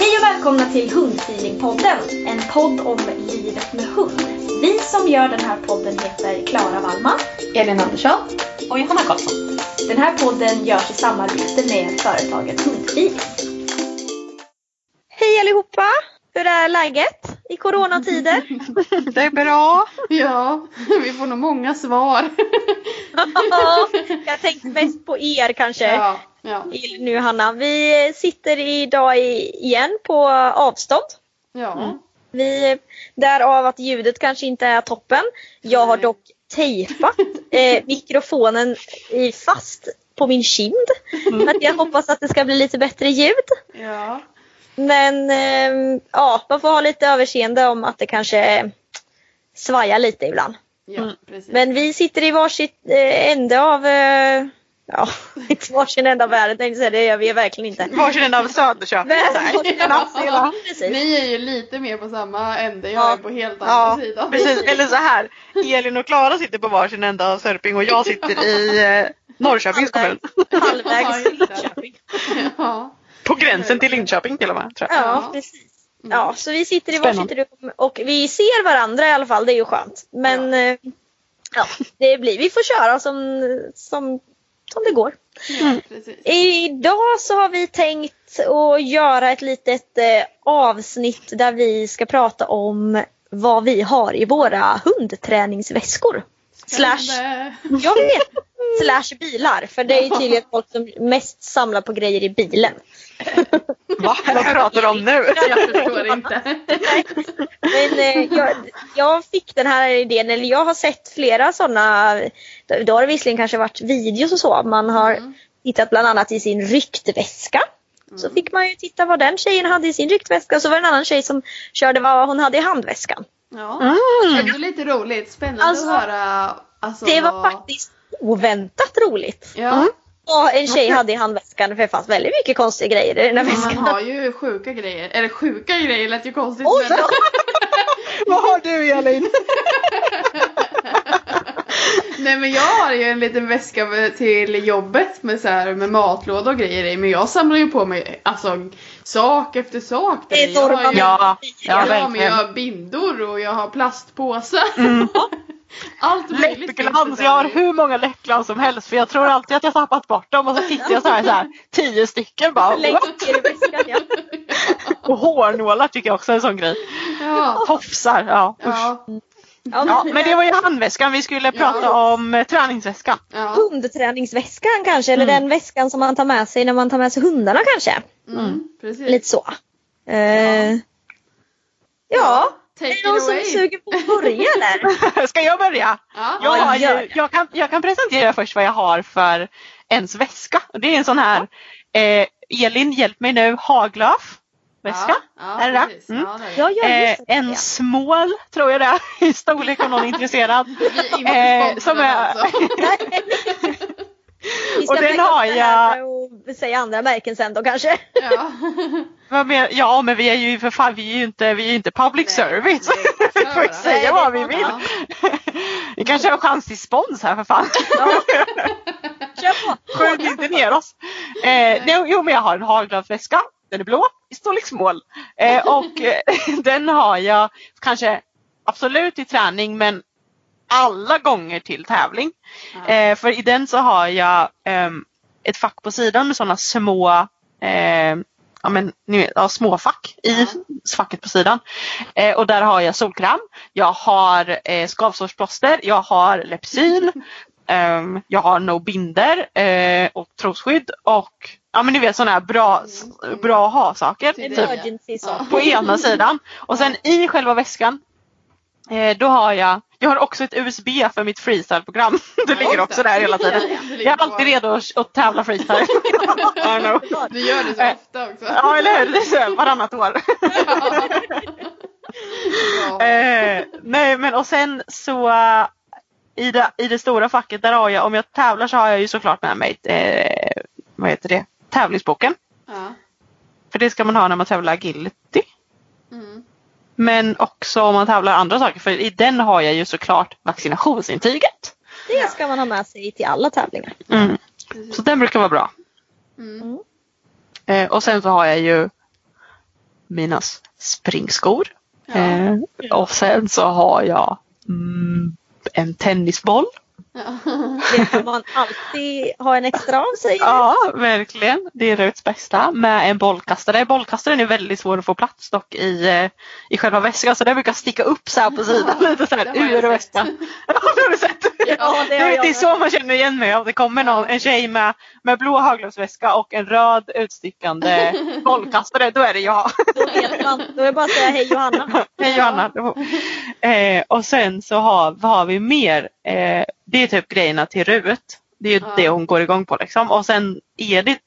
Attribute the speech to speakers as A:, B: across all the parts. A: Hej och välkomna till Hundfeelingpodden, en podd om livet med hund. Vi som gör den här podden heter Klara Wallman.
B: Elin Andersson och Johanna Karlsson.
A: Den här podden görs i samarbete med företaget Hundfeeling.
C: Hej allihopa! Hur är läget i coronatider?
B: Det är bra. Ja, vi får nog många svar.
C: Jag tänkte mest på er kanske.
B: Ja, ja,
C: Nu Hanna, vi sitter idag i- igen på avstånd. Mm.
B: ja.
C: Vi, därav att ljudet kanske inte är toppen. Jag har
B: Nej.
C: dock tejpat eh, mikrofonen i fast på min kind.
B: Mm.
C: För att jag hoppas att det ska bli lite bättre ljud.
B: ja.
C: Men ehm, ja, man får ha lite överseende om att det kanske eh, svajar lite ibland.
B: ja precis.
C: Mm. Men vi sitter i varsitt eh, ände av, eh, ja, inte varsin ände av världen tänkte jag säga, det gör vi ju verkligen inte.
D: Varsin av Söderköping.
C: Men,
D: Nej.
C: ja, precis.
B: Ni är ju lite mer på samma ände, jag
C: Ja.
B: är på helt
D: Ja,
B: andra sidan.
D: precis. Eller så här. Elin och Klara sitter på varsin ända av Sörping och jag sitter i eh, Norrköpings kommun.
C: Halvvägs till
B: Ja, just det.
C: Linköping.
B: Ja.
D: På gränsen till Linköping till och med. Tror jag.
C: Ja, precis. Ja, så vi sitter i
D: Spännande.
C: varsitt rum och vi ser varandra i alla fall, det är ju skönt. Men eh, ja, det blir, vi får köra som, som, som det går.
B: ja, precis.
C: Idag så har vi tänkt att göra ett litet eh, avsnitt där vi ska prata om vad vi har i våra hundträningsväskor. Slash,
B: Spännande.
C: jag vet, slash bilar. För det är ju tydligen folk som mest samlar på grejer i bilen.
D: Va? Vad pratar du om nu?
B: Jag förstår inte.
C: Men eh, jag, jag fick den här idén, eller jag har sett flera sådana. Då har det visserligen kanske varit videos och så. Man har
D: Mm.
C: tittat bland annat i sin ryktväska. Så fick man ju titta vad den tjejen hade i sin ryktväska. Och så var det en annan tjej som körde vad hon hade i handväskan.
B: Ja. Ändå lite roligt, spännande
C: Mm. Alltså,
B: att höra. Alltså,
C: Det var
B: vad-
C: faktiskt oväntat roligt.
B: Ja,
C: Vad en tjej hade i handväskan. För det fanns väldigt mycket konstiga grejer i den här
B: man
C: väskan.
B: har ju sjuka grejer. Eller sjuka grejer lät ju konstigt.
C: Oj
B: men-
C: då!
D: Vad har du Elin?
B: Nej men jag har ju en liten väska med- till jobbet med, så här, med matlåda och grejer i. Men jag samlar ju på mig alltså, sak efter sak. där
C: Det är
B: i. jag har
C: Norrman.
B: ju,
D: Ja, ja
B: jag har, men jag
D: verkligen.
B: har bindor och jag har plastpåsar. Allt möjligt. finns det
D: Läppglans.
B: där
D: Jag har
B: i.
D: hur många läppglans som helst för jag tror alltid att jag tappat bort dem och så tittar jag så här, så här tio stycken bara.
C: Längst ner i väskan ja.
D: Och hårnålar tycker jag också är en sån grej.
B: Ja.
D: Tofsar, ja. Usch.
B: Ja,
D: Ja, men det var ju handväskan. Vi skulle prata om eh, träningsväskan.
B: ja.
C: Hundträningsväskan kanske,
D: Mm.
C: eller den väskan som man tar med sig när man tar med sig hundarna kanske.
B: Mm, precis.
C: Lite så. Eh, ja,
B: Take
C: är
B: it
C: det någon som
B: away.
C: suger på att börja eller?
D: Ska jag börja?
B: Ja.
D: Jag, har
C: gör
D: ju,
C: det.
D: jag, kan, jag kan presentera först vad jag har för ens väska. Och det är en sån här eh, Elin hjälp mig nu, Haglöf väska.
B: Ja,
D: Är det det?
B: precis.
D: Mm.
B: Ja, det är det.
C: Ja, ja,
D: Eh,
C: just det.
D: en small tror jag det är i storlek om någon är intresserad.
B: Vi är inte
D: Eh,
B: sponsrade
D: som är,
B: alltså.
C: Vi ska
D: och den
C: lägga upp
D: har
C: det
D: jag-
C: här Och säga andra märken sen då kanske.
B: Ja.
D: vad men, ja men vi är ju för fan, vi är ju inte, vi är ju inte public
B: Nej,
D: service.
B: det är inte
D: Vi får ju
B: så.
D: säga vad vi
C: Nej, det
D: vill.
B: Ja.
D: Vi kanske har chans till spons här för fan.
C: Kör på!
D: Skjut inte ner oss. Eh, nej, jo men jag har en Haglöf-väska. Den är blå i storlek small. Eh, och eh, den har jag kanske absolut i träning men alla gånger till tävling. Eh, för i den så har jag ehm, ett fack på sidan med sådana små ehm, Ja men ni vet, ja, småfack i facket på sidan. Eh, och där har jag solkräm, jag har eh, skavsårsplåster, jag har Lepsyl, ehm, jag har No Binder eh, och trosskydd och ja men ni vet sådana här bra, s- bra ha-saker.
B: Till
D: typ
B: dig.
C: Emergency så.
D: på ena sidan. Och sen i själva väskan eh, då har jag, jag har också ett USB för mitt freestyle-program. Det ligger också där hela tiden.
B: Ja, det ligger
D: Jag är alltid
B: kvar.
D: redo att, att tävla freestyle. I know.
B: Du gör det så
D: Eh,
B: ofta också.
D: Ja eller hur, det är så här varannat år.
B: Ja.
D: Eh, nej men och sen så eh, i det, i det stora facket där har jag, om jag tävlar så har jag ju såklart med mig eh, vad heter det, tävlingsboken.
B: Ja.
D: För det ska man ha när man tävlar agility.
B: Mm.
D: Men också om man tävlar andra saker för i den har jag ju såklart vaccinationsintyget.
C: Det ska man ha med sig till alla tävlingar.
D: Mm. Så den brukar vara bra.
B: Mm.
D: Eh, och sen så har jag ju mina s- springskor.
B: Ja.
D: Eh, och sen så har jag mm, en tennisboll.
B: Ja.
C: Det kan man alltid ha en extra av sig.
D: Ja, verkligen. Det är Ruts bästa med en bollkastare. Bollkastaren är väldigt svår att få plats dock i, eh, i själva väskan så den brukar sticka upp så här på sidan lite så
B: det
D: här
B: har jag
D: ur
B: sett.
D: väskan. Ja, det har du sett?
C: Ja, det har
D: det,
C: jag
D: det är
C: med.
D: så man känner igen mig om det kommer någon, en tjej med, med blå haglöfsväska och en röd utstickande bollkastare. Då är det jag.
C: Då vet man. Då är det bara att säga hej Johanna.
D: Hej Johanna! Eh, och sen så har, vad har vi mer? Eh, det är typ grejerna till Rut. Det är ju
B: Ja.
D: det hon går igång på liksom. Och sen Edith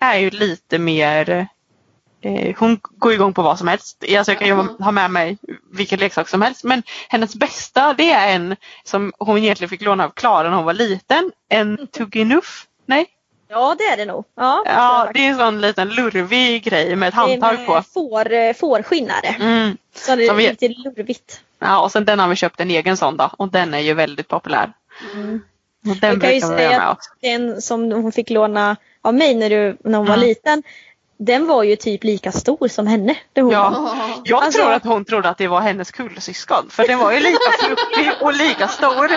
D: är ju lite mer eh, hon går igång på vad som helst. Alltså jag kan ju
B: Ja.
D: ha med mig vilken leksak som helst. Men hennes bästa det är en som hon egentligen fick låna av Klara när hon var liten.
C: Mm.
D: En Tugginuff. Nej,
C: Ja det är det nog. Ja,
D: ja, det är en sån liten lurvig grej med ett
C: Det är
D: handtag på.
C: med Får, eh, fårskinnare.
D: Mm.
C: Så det är
D: Som vi-
C: lite lurvigt.
D: Ja och sen den har vi köpt en egen sån då och den är ju väldigt populär. Och den
C: Jag Mm. kan ju
D: brukar vi ha
C: säga
D: med
C: att
D: oss.
C: den som hon fick låna av mig när, du, när hon var
D: Mm.
C: liten. Den var ju typ lika stor som henne. Det hon var.
D: Ja. Jag
C: Alltså-
D: tror att hon trodde att det var hennes kullsyskon för den var ju lika fluffig och lika stor.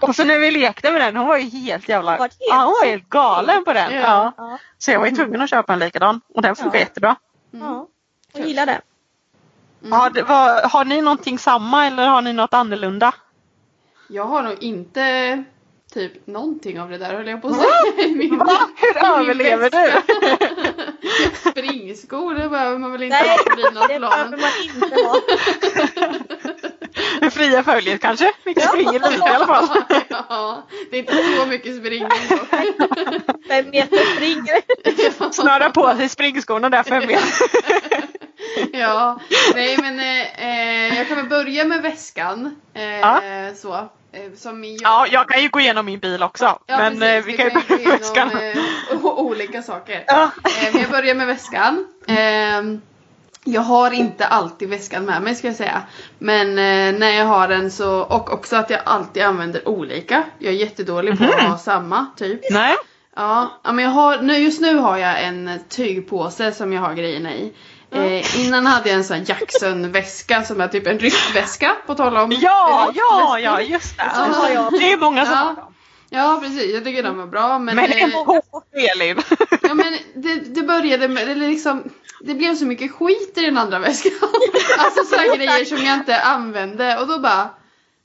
D: Och så när vi lekte med den, hon var ju helt jävla
C: Var helt
D: ja, hon var helt galen på den.
B: Ja.
D: Ja.
C: Ja.
D: Så jag var ju tvungen att köpa en likadan och den funkar
C: Ja.
D: jättebra. Mm.
C: ja. Jag gillar det. Mm.
D: Har, det- vad, har ni någonting samma eller har ni något annorlunda?
B: Jag har nog inte typ någonting av det där höll jag på att säga. I Min,
D: Va? Hur överlever du?
B: Springskor, det behöver man väl inte
C: Nej,
B: ha på
C: Det
B: midnattsplanen.
C: behöver man inte ha.
D: Det fria följet kanske? Vi kan springa lite i alla fall.
B: Ja, det är inte så mycket springning dock.
C: Fem meter springer.
D: Snöra på sig springskorna där för mig.
B: Ja, nej men eh, eh, jag kan väl börja med väskan. Eh,
D: Ja.
B: Så. Eh, som jag,
D: Ja, jag kan ju gå igenom min bil också.
B: Ja,
D: men eh,
B: precis.
D: vi kan ju börja med
B: gå igenom,
D: väskan.
B: eh, o- olika saker.
D: Ja.
B: Eh, men jag börjar med väskan. Eh, jag har inte alltid väskan med mig ska jag säga. Men eh, när jag har den så, och också att jag alltid använder olika. Jag är jättedålig på
D: Mhm.
B: att ha samma typ.
D: Nej.
B: Ja, ja, men jag har, nu, just nu har jag en tygpåse som jag har grejerna i. Eh, innan hade jag en sån här Jackson-väska som är typ en ryggväska på tal om
D: Ja,
B: ryggväskor.
D: ja, ja, just det.
B: Ja.
D: Det är många som
B: Ja.
D: har dem.
B: Ja precis, jag tycker de är bra men,
D: Men
B: eh,
D: en på Elin.
B: Ja men det, det började med, eller liksom Det blev så mycket skit i den andra väskan Alltså sådana grejer som jag inte använde och då bara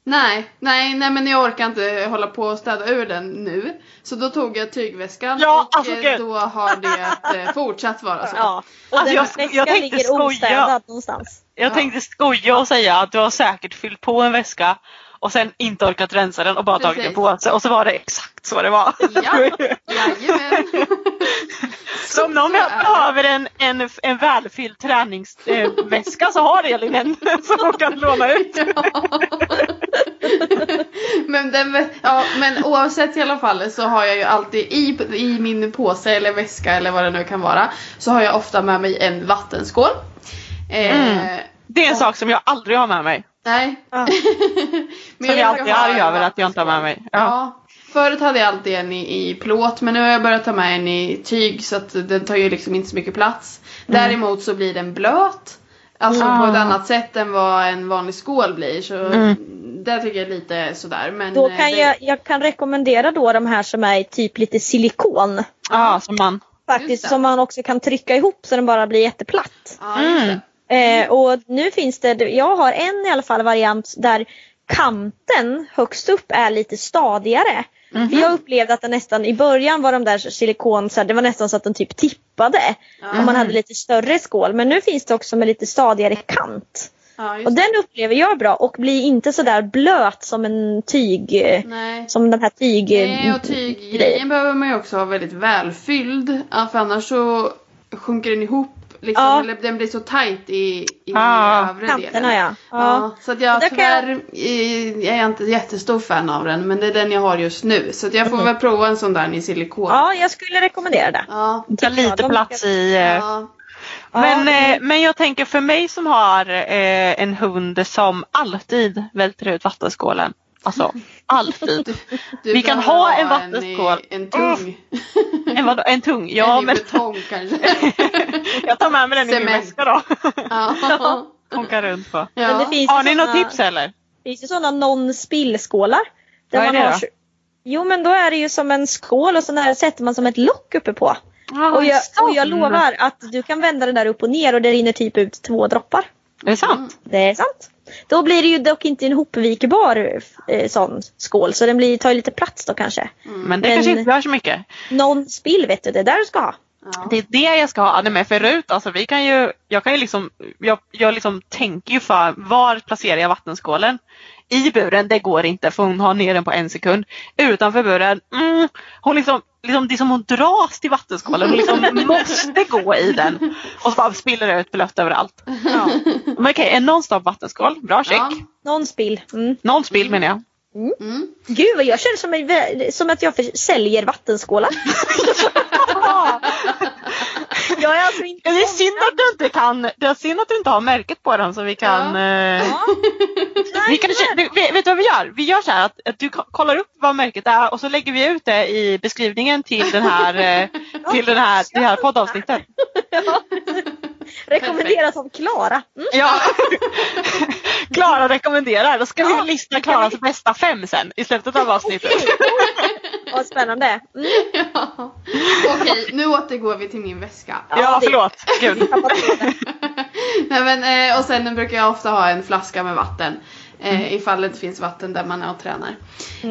B: Nej, nej, nej men jag orkar inte hålla på och städa ur den nu Så då tog jag tygväskan
D: Ja,
B: och
D: alltså,
B: eh,
D: gud.
B: då har det eh, fortsatt vara så
C: Ja. Och
D: Alltså,
C: den
D: jag-
C: väskan
D: jag tänkte
C: ligger
D: skoja.
C: ostädad någonstans.
D: Jag tänkte skoja och säga att du har säkert fyllt på en väska och sen inte orkat rensa den och bara tagit
B: Precis.
D: en påse och så var det exakt så det var.
B: Ja, jajamän.
D: så om någon
B: så är det.
D: behöver en, en, en välfylld träningsväska så har Elin en som hon kan låna ut.
B: men, den, ja, men oavsett i alla fall så har jag ju alltid i, i min påse eller väska eller vad det nu kan vara så har jag ofta med mig en vattenskål. Eh,
D: Mm. Det är en sak som jag aldrig har med mig.
B: Nej.
C: Ja.
B: men
D: Som jag alltid är
B: brukar ha
D: arg
B: en
D: över att jag inte har med mig.
B: Ja.
D: Ja.
B: Förut hade jag alltid en i, i plåt men nu har jag börjat ta med en i tyg så att den tar ju liksom inte så mycket plats. Däremot så blir den blöt. Alltså
D: Mm.
B: på ett annat sätt än vad en vanlig skål blir. Så där tycker jag är lite sådär. Men
C: Då
B: eh,
C: kan
B: det-
C: jag, jag kan rekommendera då de här som är typ lite silikon.
D: Ja, som man.
B: Just det.
C: Faktiskt som man också kan trycka ihop så den bara blir jätteplatt.
B: Ja, just det.
C: Eh, och nu finns det, jag har en i alla fall variant där kanten högst upp är lite stadigare. För jag upplevde att den nästan i början var de där silikon, så här, det var nästan så att den typ tippade. Om man hade lite större skål. Men nu finns det också med lite stadigare kant.
B: Ja, just
C: Och
B: det.
C: den upplever jag är bra och blir inte så där blöt som en tyg, eh,
B: Nej.
C: som den här tyg...
B: Nej, och tyggrejen behöver man ju också ha väldigt välfylld. Ja, För annars så sjunker den ihop. Liksom,
C: Ja.
B: Eller den blir så tajt i, i
D: Ja.
B: övre delen.
C: kanterna ja. ja.
B: Ja, så att jag
C: Där kan jag-
B: tyvärr eh, jag är inte jättestor fan av den men det är den jag har just nu. Så att jag får väl prova en sån där i silikon.
C: Ja, jag skulle rekommendera det.
B: Ja.
D: Det tar lite
C: de-
D: plats i... eh,
B: Ja.
D: Men, eh, men jag tänker för mig som har eh, en hund som alltid välter ut vattenskålen. Alltså alltid.
B: Du
D: Vi kan
B: behöver
D: ha en
B: i-
D: vattenskål. Mm.
B: En tung.
D: En, vadå, en tung.
B: en
D: Ja,
B: i
D: men
B: betong kanske.
D: jag tar med mig den i min
B: Cement.
D: väska då.
B: Ja. Ja.
D: Åka runt på.
C: Men det finns ju
D: Har ni något
C: såna-
D: tips eller?
C: Det finns ju sådana non-spill-skålar. Där
D: Vad är
C: man
D: det
C: har...
D: då?
C: Jo men då är det ju som en skål och så där sätter man som ett lock uppe på.
D: Ja,
C: och, jag,
D: sån.
C: och jag lovar att du kan vända den där upp och ner och det rinner typ ut två droppar.
D: Är det sant?
C: Det är sant. Då blir det ju dock inte en hopvikbar eh, sån skål så den blir, tar ju lite plats då kanske.
D: Men det
C: Mm, Men-
D: kanske inte gör så mycket.
C: Non-spill vet du, det är där du ska ha.
D: Det är det jag ska ha. Nej, men förut alltså vi kan ju, jag kan ju liksom, jag, jag liksom tänker ju för var placerar jag vattenskålen? I buren, det går inte för hon har ner den på en sekund. Utanför buren, mm, hon liksom, liksom, det är som hon dras till vattenskålen, hon liksom måste gå i den. Och så bara spiller det ut blött överallt.
C: Ja.
D: Men okej, en non-stop vattenskål, bra check.
B: Ja.
C: Non-spill. Mm.
D: Någon spill menar jag.
C: Gud vad jag känner som, en vä- som att jag för- säljer vattenskålar. jag är alltså inte
D: Det är synd att du inte kan, det är synd att du inte har märket på den så vi kan
B: Ja.
D: eh, Vi
C: Nej,
D: kan, du, vet vet du vad vi gör? Vi gör så här att, att du ko- kollar upp vad märket är och så lägger vi ut det i beskrivningen till, den här, eh, till den här, det här poddavsnittet.
C: rekommenderas som Klara. Mm.
D: Ja. Klara rekommenderar. Då ska vi lista Klaras bästa fem sen i slutet av avsnittet.
C: Vad spännande. Mm.
B: Ja. Okej, nu återgår vi till min väska.
D: Ja, förlåt. Gud.
B: Nej, men, eh, och sen brukar jag ofta ha en flaska med vatten. Eh,
D: Mm.
B: ifall det inte finns vatten där man är och tränar.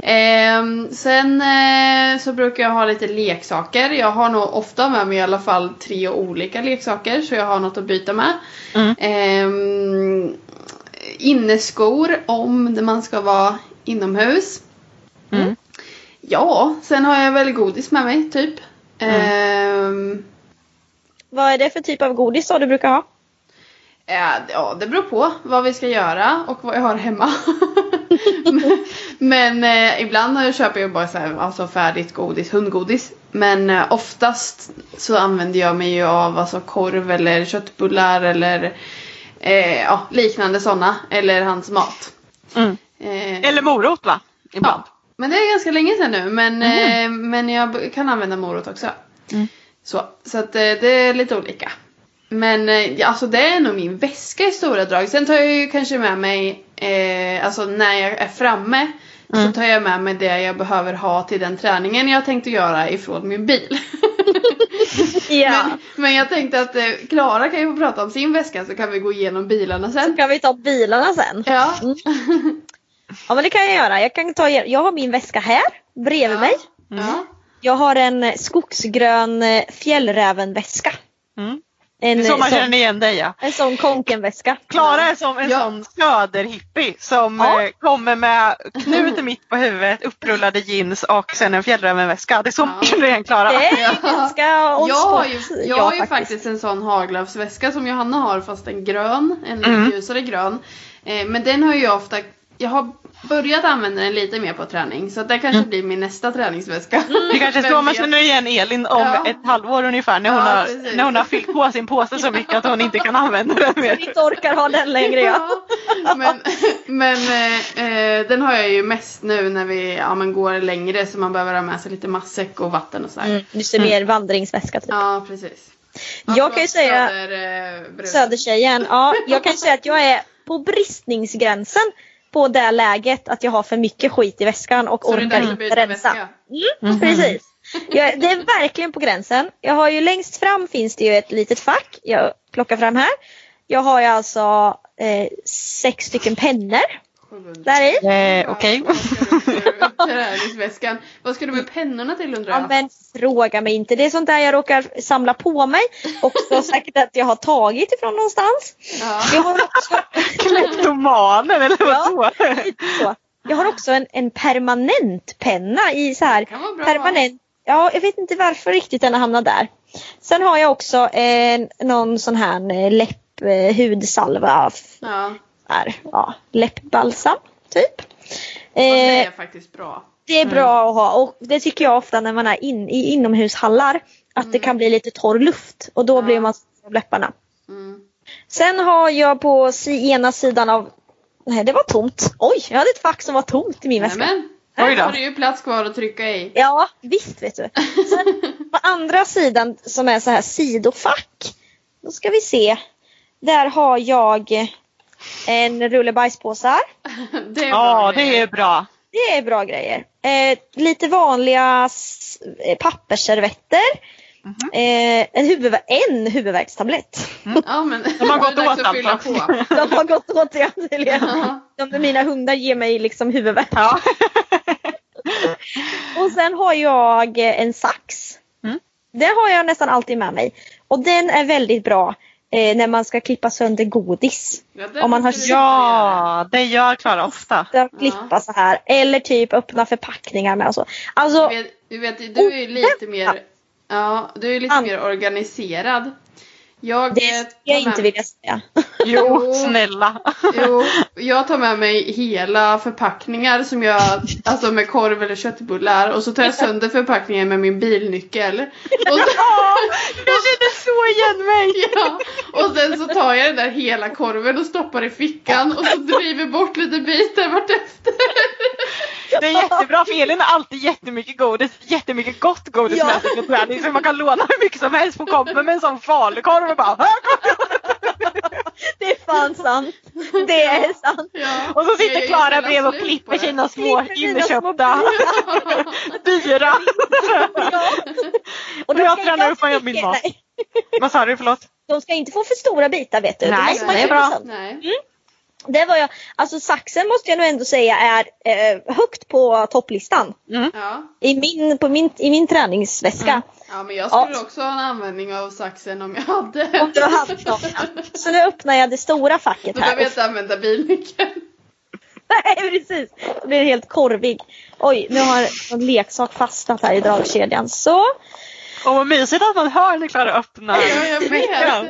B: Ehm, sen eh, så brukar jag ha lite leksaker. Jag har nog ofta med mig i alla fall tre olika leksaker så jag har något att byta med.
D: Mm.
B: Ehm, inneskor om man ska vara inomhus.
D: Mm.
B: Ja, sen har jag väl godis med mig typ.
D: Mm.
B: Ehm,
C: Vad är det för typ av godis då du brukar ha?
B: Eh, Ja, det beror på vad vi ska göra och vad jag har hemma. Men- Men eh, ibland eh, köper jag bara så här, alltså färdigt godis, hundgodis. Men eh, oftast så använder jag mig ju av alltså, korv eller köttbullar eller eh, ja, liknande sådana. Eller hans mat.
D: Mm.
B: Eh,
D: Eller morot va? Ibland.
B: ja. Men det är ganska länge sedan nu men, eh, men jag b- kan använda morot också. Så, så att eh, det är lite olika. Men eh, ja, alltså det är nog min väska i stora drag. Sen tar jag ju kanske med mig, eh, alltså när jag är framme så tar jag med mig det jag behöver ha till den träningen jag tänkte göra ifrån min bil.
C: Ja.
B: men, men jag tänkte att eh, Klara kan ju få prata om sin väska så kan vi gå igenom bilarna
C: Så
B: sen.
C: kan vi ta bilarna sen.
B: Ja.
C: Ja men det kan jag göra. Jag, kan ta, er- jag har min väska här bredvid mig.
B: Ja.
C: Jag har en eh, skogsgrön eh, fjällrävenväska.
D: Mm. Det
C: En,
D: är så man känner
C: sån,
D: igen dig ja.
C: en sån konkenväska.
D: Klara är som en
B: Ja.
D: sån söderhippie som
C: Ja.
D: eh, kommer med knut mitt på huvudet, upprullade jeans och sen en fjällrävenväska. Det är så man
B: Ja.
D: känner igen Klara.
C: Det är ganska on
B: Jag har ju,
C: spot,
B: jag
C: ja,
B: har ju faktiskt en sån haglöfsväska som Johanna har fast en grön, en lite
D: Mm.
B: ljusare grön. Eh, men den har ju jag ofta, jag har börjat använda den lite mer på träning så att det
C: Mm.
B: kanske blir min nästa träningsväska.
D: Det kanske är så
B: Vem
D: man
B: vet?
D: känner igen Elin om
B: Ja.
D: ett halvår ungefär när hon,
B: Ja,
D: har,
B: precis.
D: när hon har fyllt på sin påse så mycket att hon inte kan använda den mer.
C: Inte orkar ha den längre ja.
B: Ja, men men eh, eh, den har jag ju mest nu när vi ja, men går längre så man behöver ha med sig lite matsäck och vatten och sådär.
C: Mm, just det, mer vandringsväska typ.
B: Ja precis. Ja,
C: jag kan ju
B: förlåt,
C: säga
B: Söder, eh, brus.
C: Södertjejen, ja jag kan ju säga att jag är på bristningsgränsen på det läget att jag har för mycket skit i väskan och
B: Så det är
C: orkar
B: dags att
C: inte
B: byta
C: rensa.
B: väska.
C: Mm, Precis. Jag, det är verkligen på gränsen. Jag har ju längst fram finns det ju ett litet fack. Jag plockar fram här. Jag har ju alltså eh, sex stycken pennor där i.
D: Eh, Okej.
B: Träningsväskan. Vad ska du med pennorna till undrar
C: Ja,
B: jag?
C: men fråga mig inte. Det är sånt där jag råkar samla på mig. Och så säkert att jag har tagit ifrån någonstans.
B: Ja.
C: Jag har också,
D: Kleptomanen eller vadå?
C: så, jag har också en, en permanent penna i så här
B: kan vara bra.
C: permanent. Ja, jag vet inte varför riktigt den har hamnat där. Sen har jag också en, någon sån här eh, läpp, eh, hudsalva. f-
B: Ja,
C: Här, ja, läppbalsam, typ.
B: och det
C: Eh,
B: är faktiskt bra.
C: det är bra att ha och det tycker jag ofta när man är in, i inomhushallar. Att det kan bli lite torr luft och då
B: Mm. Ja.
C: blir man så på läpparna.
B: Mm.
C: Sen har jag på si, ena sidan av... Nej, det var tomt. Oj, jag hade ett fack som var tomt i min väska.
B: Nämen,
D: Oj
B: här
D: då.
B: har du ju plats kvar att trycka i.
C: Ja, visst vet du. Sen på andra sidan som är så här sidofack. Då ska vi se. Där har jag en rulle bajspåsar.
B: Det är
D: Ja,
B: bra
D: det är
B: grejer.
D: bra.
C: Det är bra grejer. Eh, lite vanliga s- eh, pappersservetter. Eh, en, huvudvär- en huvudvärkstablett.
B: Ja, men
D: De har gått
B: det är dags
D: åt
B: att fylla
D: alltså.
B: på.
C: De har gått åt det tydligen.
B: Ja.
C: De mina hundar ger mig liksom huvudvärk.
D: Ja.
C: Och sen har jag eh, en sax.
D: Mm.
C: Den har jag nästan alltid med mig. Och den är väldigt bra eh, när man ska klippa sönder godis.
B: Ja, det
C: Om man har-
B: måste du göra.
D: ja, det gör Klara ofta.
C: Att klippa så här. Eller typ öppna förpackningar med och så. Alltså,
B: Du vet, du, vet, du är
D: Oh,
B: ju lite mer, ja, du är lite
C: An-
B: mer organiserad. Jag,
C: det
B: eh,
C: skulle
B: tar
C: jag
B: med-
C: inte vilja säga.
D: Jo,
B: Jo.
D: snälla.
B: Jo, jag tar med mig hela förpackningar som jag, alltså med korv eller köttbullar och så tar jag sönder förpackningen med min bilnyckel. Och så,
D: Jag känner så igen mig.
B: ja, och sen så tar jag den där hela korven och stoppar i fickan och så driver bort lite bitar vartefter.
D: Det är jättebra för Elin har alltid jättemycket godis, jättemycket gott godis
C: Ja.
D: med sig på träning så man kan låna hur mycket som helst. Hon kommer med en sån falukorv och bara "Här kommer jag."
C: Det är fan sant. Det är sant.
B: Ja,
D: Och så
B: jag
D: sitter
B: är
D: Klara
B: helt
D: bredvid och
B: slut på
D: klipper
B: det.
D: sina små
C: Klipper sina
D: inköpta dyra.
C: Ja.
D: Och
C: de
D: jag
C: ska
D: tränar
C: inte ha
D: upp mig
C: för
D: och min
C: mycket-
D: mat.
C: nej,
D: Vad sa du förlåt?
C: De ska inte få för stora bitar vet du. Då
D: Nej,
C: måste man
B: det
D: är
C: klippa
D: bra. Mm.
C: sönder.
B: Nej.
C: Det var jag, alltså saxen måste jag nog ändå säga är eh, högt på topplistan.
B: Ja.
C: I min, på min, i min träningsväska.
B: ja, men jag skulle
C: Ja.
B: också ha en användning av saxen om jag hade.
C: Om du har haft någon. Så nu öppnar jag det stora facket
B: Mm. Då
C: här.
B: behöver jag inte använda bilnyckeln.
C: Nej precis, då blir det helt korvig. Oj, nu har någon leksak fastnat här i dragkedjan. Så,
D: Åh vad mysigt att man hör när Klara öppnar.
B: Ja, jag vet. Ja,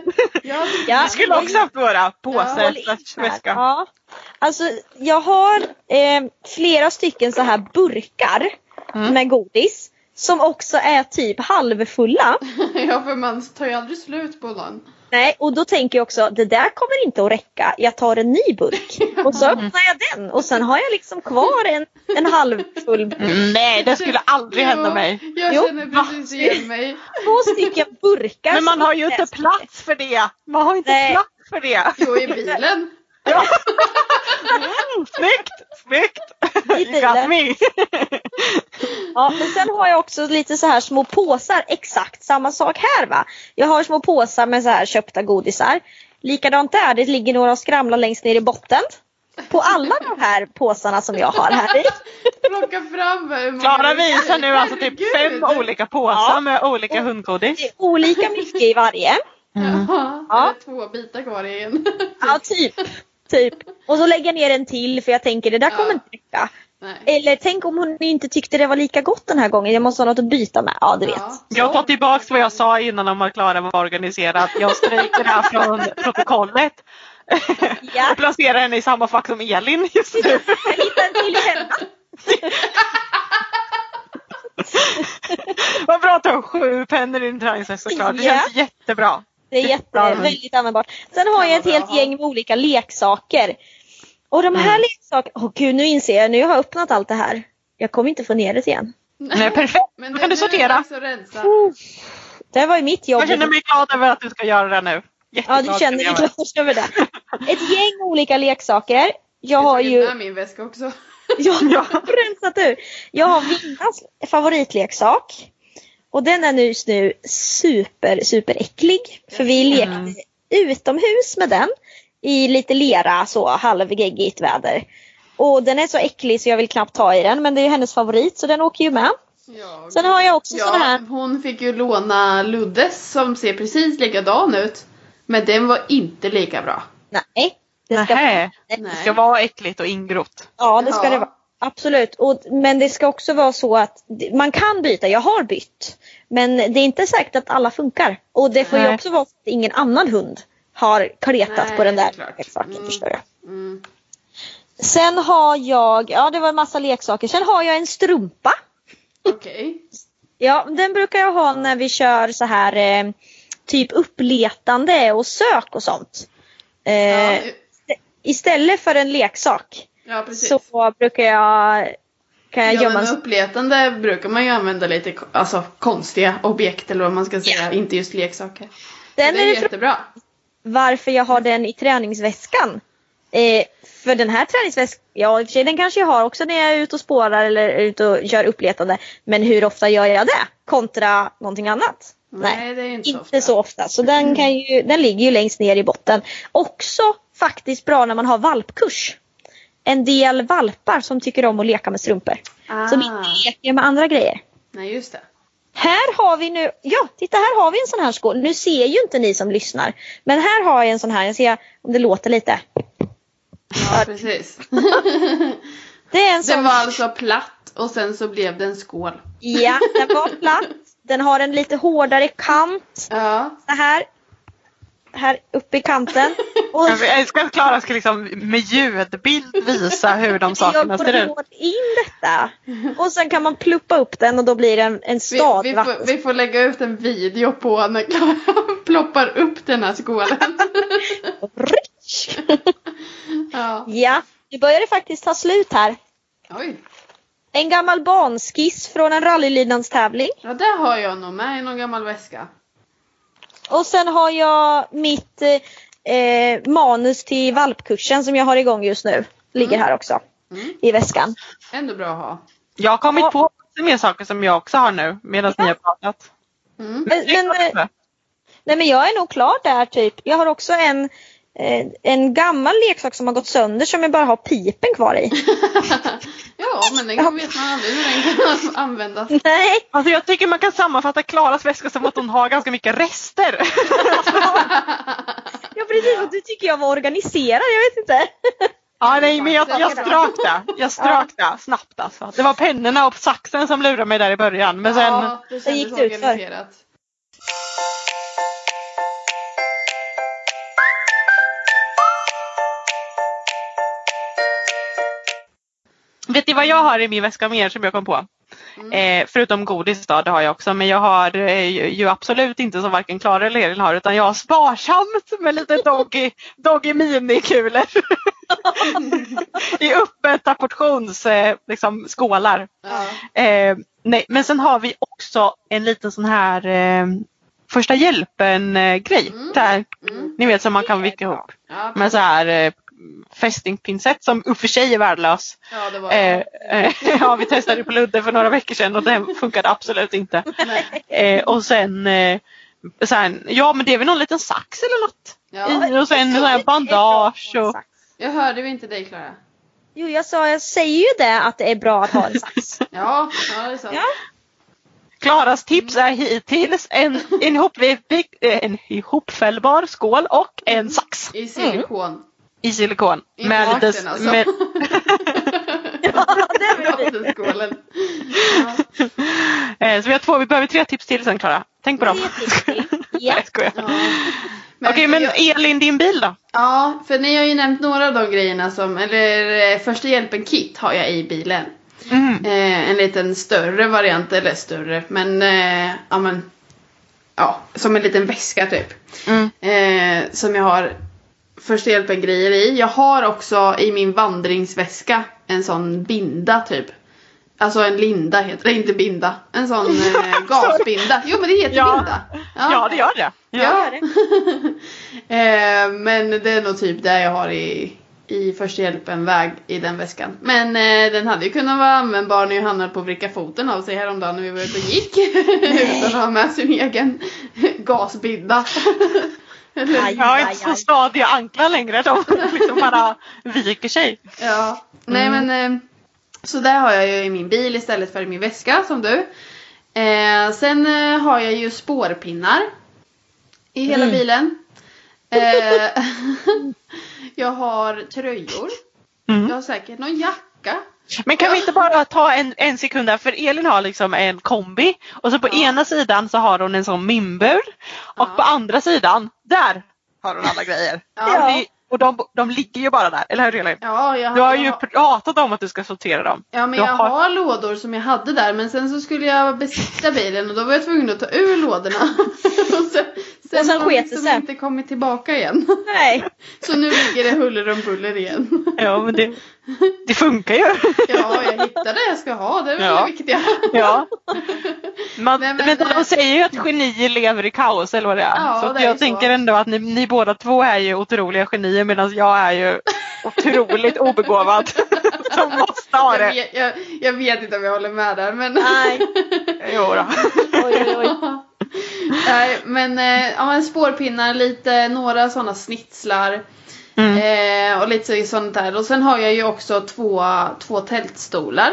C: ja.
D: Jag skulle också haft våra
B: Ja,
D: påsar
C: håll i
D: slash
C: här.
D: väska.
C: Ja. Alltså jag har eh, flera stycken så här burkar
D: Mm.
C: med godis. Som också är typ halvfulla.
B: ja, för man tar ju aldrig slut på någon.
C: Nej, och då tänker jag också det där kommer inte att räcka. Jag tar en ny burk och så öppnar jag den och sen har jag liksom kvar en, en halvfull burk.
D: Nej det skulle aldrig hända
B: Jo,
D: mig.
B: Jag
C: Jo.
B: känner precis igen mig.
C: Två stycken burkar.
D: Men man
C: som
D: har ju inte
C: är-
D: plats för det. Man har inte
C: Nej.
D: plats för det.
B: Jo, i bilen.
D: Ja. Mm, snyggt! Snyggt!
C: I
D: You
C: bilen.
D: got me!
C: Ja, men sen har jag också lite så här små påsar, exakt samma sak här va. Jag har små påsar med så här köpta godisar. Likadant där, det ligger några och skramlar längst ner i botten. På alla de här påsarna som jag har här i.
B: Plocka fram hur många
D: Klara
B: vi-
D: visar nu alltså typ
B: Herregud.
D: fem olika påsar med olika hundgodis.
C: Det är olika mycket i varje.
B: Jaha,
C: Ja.
B: det är två bitar kvar i en.
C: Ja, typ. typ. Och så lägger jag ner en till för jag tänker det där
B: Ja.
C: kommer inte räcka.
B: Nej.
C: Eller tänk om hon inte tyckte det var lika gott den här gången. Jag måste ha något att byta med. Ja, du vet.
D: Jag tar tillbaka vad jag sa innan om att Klara var organiserad. Jag stryker det här från protokollet.
C: Ja.
D: Jag placerar henne i samma fack som Elin just nu.
C: Jag hittar en till hemma.
D: Vad bra att du har sju pennor i din träningsväska såklart. Det känns jättebra.
C: Det är jätte,
D: Ja, men-
C: väldigt användbart. Sen har jag ett helt gäng med olika leksaker. Och de
D: Mm.
C: här leksakerna, åh gud nu inser jag, nu har jag öppnat allt det här. Jag kommer inte få ner det igen.
D: Nej, perfekt.
B: Men
D: Då
B: det,
D: kan du
B: nu är det
D: sortera.
B: dags att rensa.
C: Det här var ju mitt jobb.
D: Jag känner mig glad över att du ska göra det nu.
C: Ja,
D: Jätteglad
C: du känner dig
D: känner jag mig.
C: glad över det. Ett gäng olika leksaker. Jag har
B: tog
C: ju
B: med min väska också.
C: jag har rensat ur. Jag har Vinnas favoritleksak. Och den är nu- just nu super, super äcklig. För vi lekte utomhus med den. I lite lera, så halvgeggigt väder. Och den är så äcklig så jag vill knappt ta i den. Men det är ju hennes favorit så den åker ju med.
B: Ja,
C: Sen har jag också
B: ja,
C: sån här.
B: Hon fick ju låna Luddes som ser precis likadan ut. Men den var inte lika bra.
C: Nej. Det ska,
D: Nähä, det
B: Nej.
D: ska vara äckligt och ingrott.
C: ja, det ska
B: Ja.
C: det vara. Absolut. Och, men det ska också vara så att d- man kan byta. Jag har bytt. Men det är inte säkert att alla funkar. Och det får ju
D: Nej.
C: också vara så att ingen annan hund har kletat
B: Nej,
C: på den
B: det är
C: där
B: klart.
C: leksaken.
B: Mm.
C: Förstår jag.
B: Mm.
C: Sen har jag, ja det var en massa leksaker. Sen har jag en strumpa.
B: Okej.
C: Ja, den brukar jag ha när vi kör så här eh, typ uppletande och sök och sånt. Eh,
B: Ja,
C: Istället för en leksak
B: ja, precis.
C: så eh, brukar jag, kan jag
B: Ja,
C: gömma
B: men
C: en
B: uppletande brukar man ju använda lite ko- alltså, konstiga objekt eller vad man ska säga, inte just leksaker.
C: Den
B: det
C: är
B: är
C: det frågan
B: jättebra.
C: varför jag har den i träningsväskan. Eh, för den här träningsväskan, ja i och för sig den kanske jag har också när jag är ute och spårar eller är ute och kör uppletande. Men hur ofta gör jag det? Kontra någonting annat?
B: Nej, det är inte så
C: Inte så ofta. Så den, kan ju, den ligger ju längst ner i botten. Också faktiskt bra när man har valpkurs. En del valpar som tycker om att leka med strumpor.
B: Ah.
C: Som inte leker med andra grejer.
B: Nej, just det.
C: Här har vi nu, ja titta här har vi en sån här skål. Nu ser ju inte ni som lyssnar. Men här har jag en sån här, jag ser om det låter lite.
B: Ja, precis.
C: Det är en sån.
B: Den var alltså platt och sen så blev det en skål.
C: Ja, den var platt. Den har en lite hårdare kant.
B: Ja.
C: Så här. Här uppe i kanten. Och
D: Jag älskar att Klara ska liksom med ljudbild visa hur de sakerna
C: jag
D: ser ut.
C: får in detta. Och sen kan man pluppa upp den och då blir det en, en
B: Vi,
C: stad
B: vi, får,
C: vatten.
B: vi får lägga ut en video på när Klara ploppar upp den här skålen.
C: Rysch!
B: Ja.
C: Ja, nu börjar det faktiskt ta slut här.
B: Oj.
C: En gammal banskiss från en rallylydnadstävling.
B: Ja, där har jag nog med i någon gammal väska.
C: Och sen har jag mitt eh, eh, manus till valpkursen som jag har igång just nu. Ligger här också.
B: Mm.
C: I väskan.
B: Ändå bra att ha.
D: Jag har kommit
C: Ja.
D: på lite mer saker som jag också har nu medan ni har pratat.
B: Mm.
C: Men, men, eh, nej men jag är nog klar där typ. Jag har också en, eh, en gammal leksak som har gått sönder som jag bara har pipen kvar i.
B: Ja, men den vet man aldrig hur den kan användas.
C: nej,
D: Alltså jag tycker man kan sammanfatta Klaras väska som att hon har ganska mycket rester.
C: ja precis. Och du tycker jag var organiserad, jag vet inte.
D: Ja, nej, men jag, jag strök det. Jag strök det snabbt alltså. Det var pennorna och saxen som lurade mig där i början. Men sen,
B: Ja, det kändes
C: gick det ut för.
B: organiserat.
D: vet ni vad jag har i min väska mer som jag kom på? Eh, förutom godis då, det har jag också. Men jag har eh, ju- ju absolut inte som varken Klara eller Elin har utan jag har sparsamt med lite Doggy, doggy minikulor. I uppäta portions eh, liksom, skålar.
B: Ja.
D: Eh, nej, men sen har vi också en liten sån här eh, första hjälpen eh, grej. Där,
B: Mm.
D: Ni vet som man kan vicka ihop
B: Ja,
D: med så här eh, fästingpinsett som i och för sig är värdelös.
B: ja, det var
D: Eh, eh, ja, vi testade på Ludde för några veckor sedan och den funkade absolut inte.
B: Nej.
D: Eh, och sen, eh, så här, ja men det är väl någon liten sax eller något.
B: Ja.
D: I, och sen så här bandage och
B: Jag hörde ju inte dig Klara.
C: Jo, jag sa, jag säger ju det att det är bra att ha en sax.
B: Ja, ja det är sant.
C: Ja.
D: Klaras tips är hittills en, en, ihopvik- eh, en ihopfällbar skål och en sax
B: I silikon.
D: i silikon.
B: I farten
D: s-
B: alltså.
D: med,
C: Ja, det blir fint.
B: Vattenskålen.
D: eh, så vi har två, vi behöver tre tips till sen Klara. Tänk på dem.
C: Tre tips till. Ja.
D: Nej, jag skojar.
B: Ja.
D: Okej men
B: jag-
D: Elin din bil då?
B: Ja, för ni har ju nämnt några av de grejerna som, eller eh, första hjälpen-kit har jag i bilen.
D: Mm.
B: Eh, en liten större variant, eller större, men eh, ja men. Ja, som en liten väska typ.
D: Mm.
B: Eh, som jag har första hjälpen-grejer i. Jag har också i min vandringsväska en sån binda typ. Alltså en linda heter det, inte binda. En sån eh, gasbinda. Jo men det heter
D: Ja.
B: binda.
D: Ja. det gör det.
B: Ja. eh, men det är nog typ det jag har i, i första hjälpen-väg i den väskan. Men eh, den hade ju kunnat vara användbar när jag hamnade på att vricka foten av sig häromdagen när vi var ute och gick. Utan att ha med sin egen gasbinda.
C: Aj,
D: Jag har
C: aj,
D: inte så
C: aj.
D: stadiga anklar längre. De liksom bara viker sig.
B: Ja, nej
D: Mm.
B: men eh, så där har jag ju i min bil istället för i min väska som du. Eh, sen eh, har jag ju spårpinnar i hela
D: Mm.
B: bilen. Eh, jag har tröjor.
D: Mm.
B: Jag har säkert någon jacka.
D: Men kan vi inte bara ta en, en sekund där för Elin har liksom en kombi och så på ena sidan så har hon en sån minbur och
B: Ja.
D: på andra sidan där har hon alla grejer.
B: Ja.
D: Och, det, och de, de ligger ju bara där, eller hur Elin?
B: Ja, jag,
D: Du har ju
B: jag,
D: pratat om att du ska sortera dem.
B: ja, men
D: du
B: jag
D: har-
B: har lådor som jag hade där men sen så skulle jag besikta bilen och då var jag tvungen att ta ur lådorna. och sen, sen,
C: Och sen
B: har de
C: sket det
B: liksom
C: sig.
B: inte kommit tillbaka igen.
C: Nej.
B: så nu ligger det huller om buller igen.
D: Ja men det, det funkar ju.
B: Ja, jag hittade det jag ska ha. Det är väl
D: Ja.
B: det viktiga.
D: Ja. Man,
B: Nej, men- eh,
D: men, de säger ju att genier lever i kaos eller vad det är.
B: Ja,
D: så att
B: det är
D: jag
B: så.
D: tänker ändå att ni, ni båda två är ju otroliga genier medan jag är ju otroligt obegåvad. Som måste ha
B: Jag
D: det.
B: vet, jag, jag vet inte om jag håller med där, men...
C: Nej.
D: Jo då.
C: Oj, oj, oj.
B: Nej, men, eh, ja, men spårpinnar, lite, några sådana snitslar
D: Mm.
B: eh, och lite sånt där. Och sen har jag ju också två, två tältstolar.